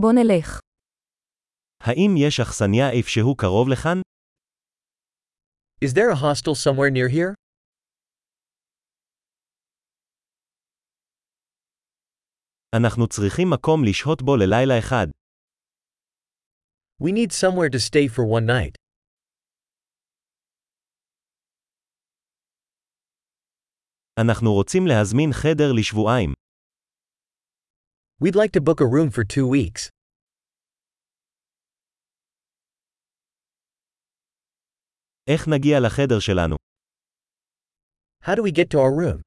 בוא נלך. האם יש אכסניה איפשהו קרוב לכאן? Is there a hostel somewhere near here? אנחנו צריכים מקום לשהות בו ללילה אחד. We need somewhere to stay for one night. אנחנו רוצים להזמין חדר לשבועיים. We'd like to book a room for two weeks. איך נגיע לחדר שלנו? How do we get to our room?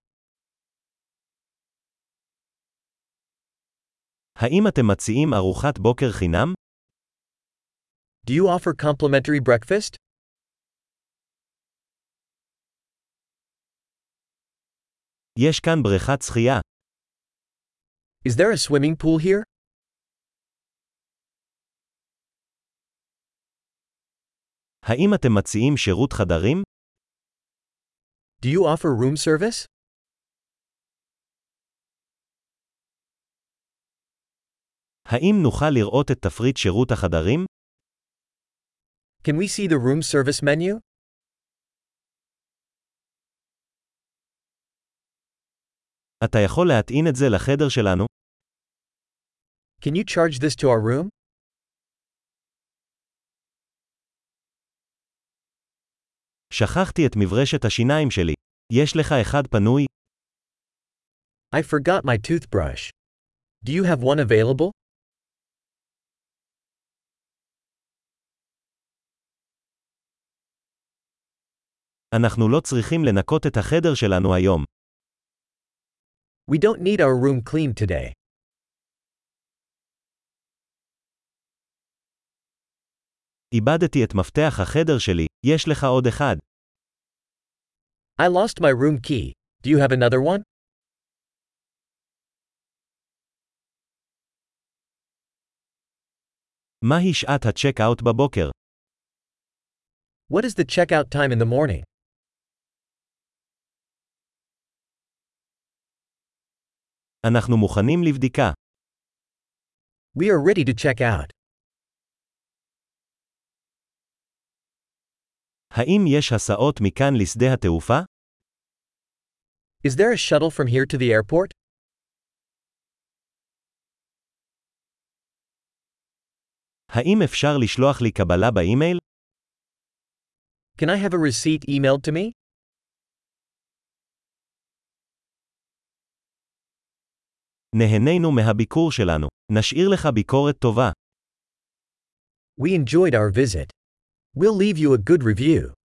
האם אתם מציעים ארוחת בוקר חינם? Do you offer complimentary breakfast? יש כאן בריכת שחייה. Is there a swimming pool here? האם אתם מציעים שירות חדרים? Do you offer room service? האם נוכל לראות את תפריט שירות החדרים? Can we see the room service menu? אתה יכול להטעין את זה לחדר שלנו? Can you charge this to our room? שכחתי את מברשת השיניים שלי. יש לך אחד פנוי? I forgot my toothbrush. Do you have one available? אנחנו לא צריכים לנקות את החדר שלנו היום. We don't need our room cleaned today. איבדתי את מפתח החדר שלי, יש לך עוד אחד. I lost my room key. Do you have another one? מהי שעת הצ'ק-אאוט בבוקר? What is the checkout time in the morning? אנחנו מוכנים לבדיקה. We are ready to check out. האם יש הסעות מכאן לשדה התעופה? Is there a shuttle from here to the airport? האם אפשר לשלוח לי קבלה באימייל? Can I have a receipt emailed to me? נהנינו מהביקור שלנו. נשאיר לך ביקורת טובה. We enjoyed our visit. We'll leave you a good review.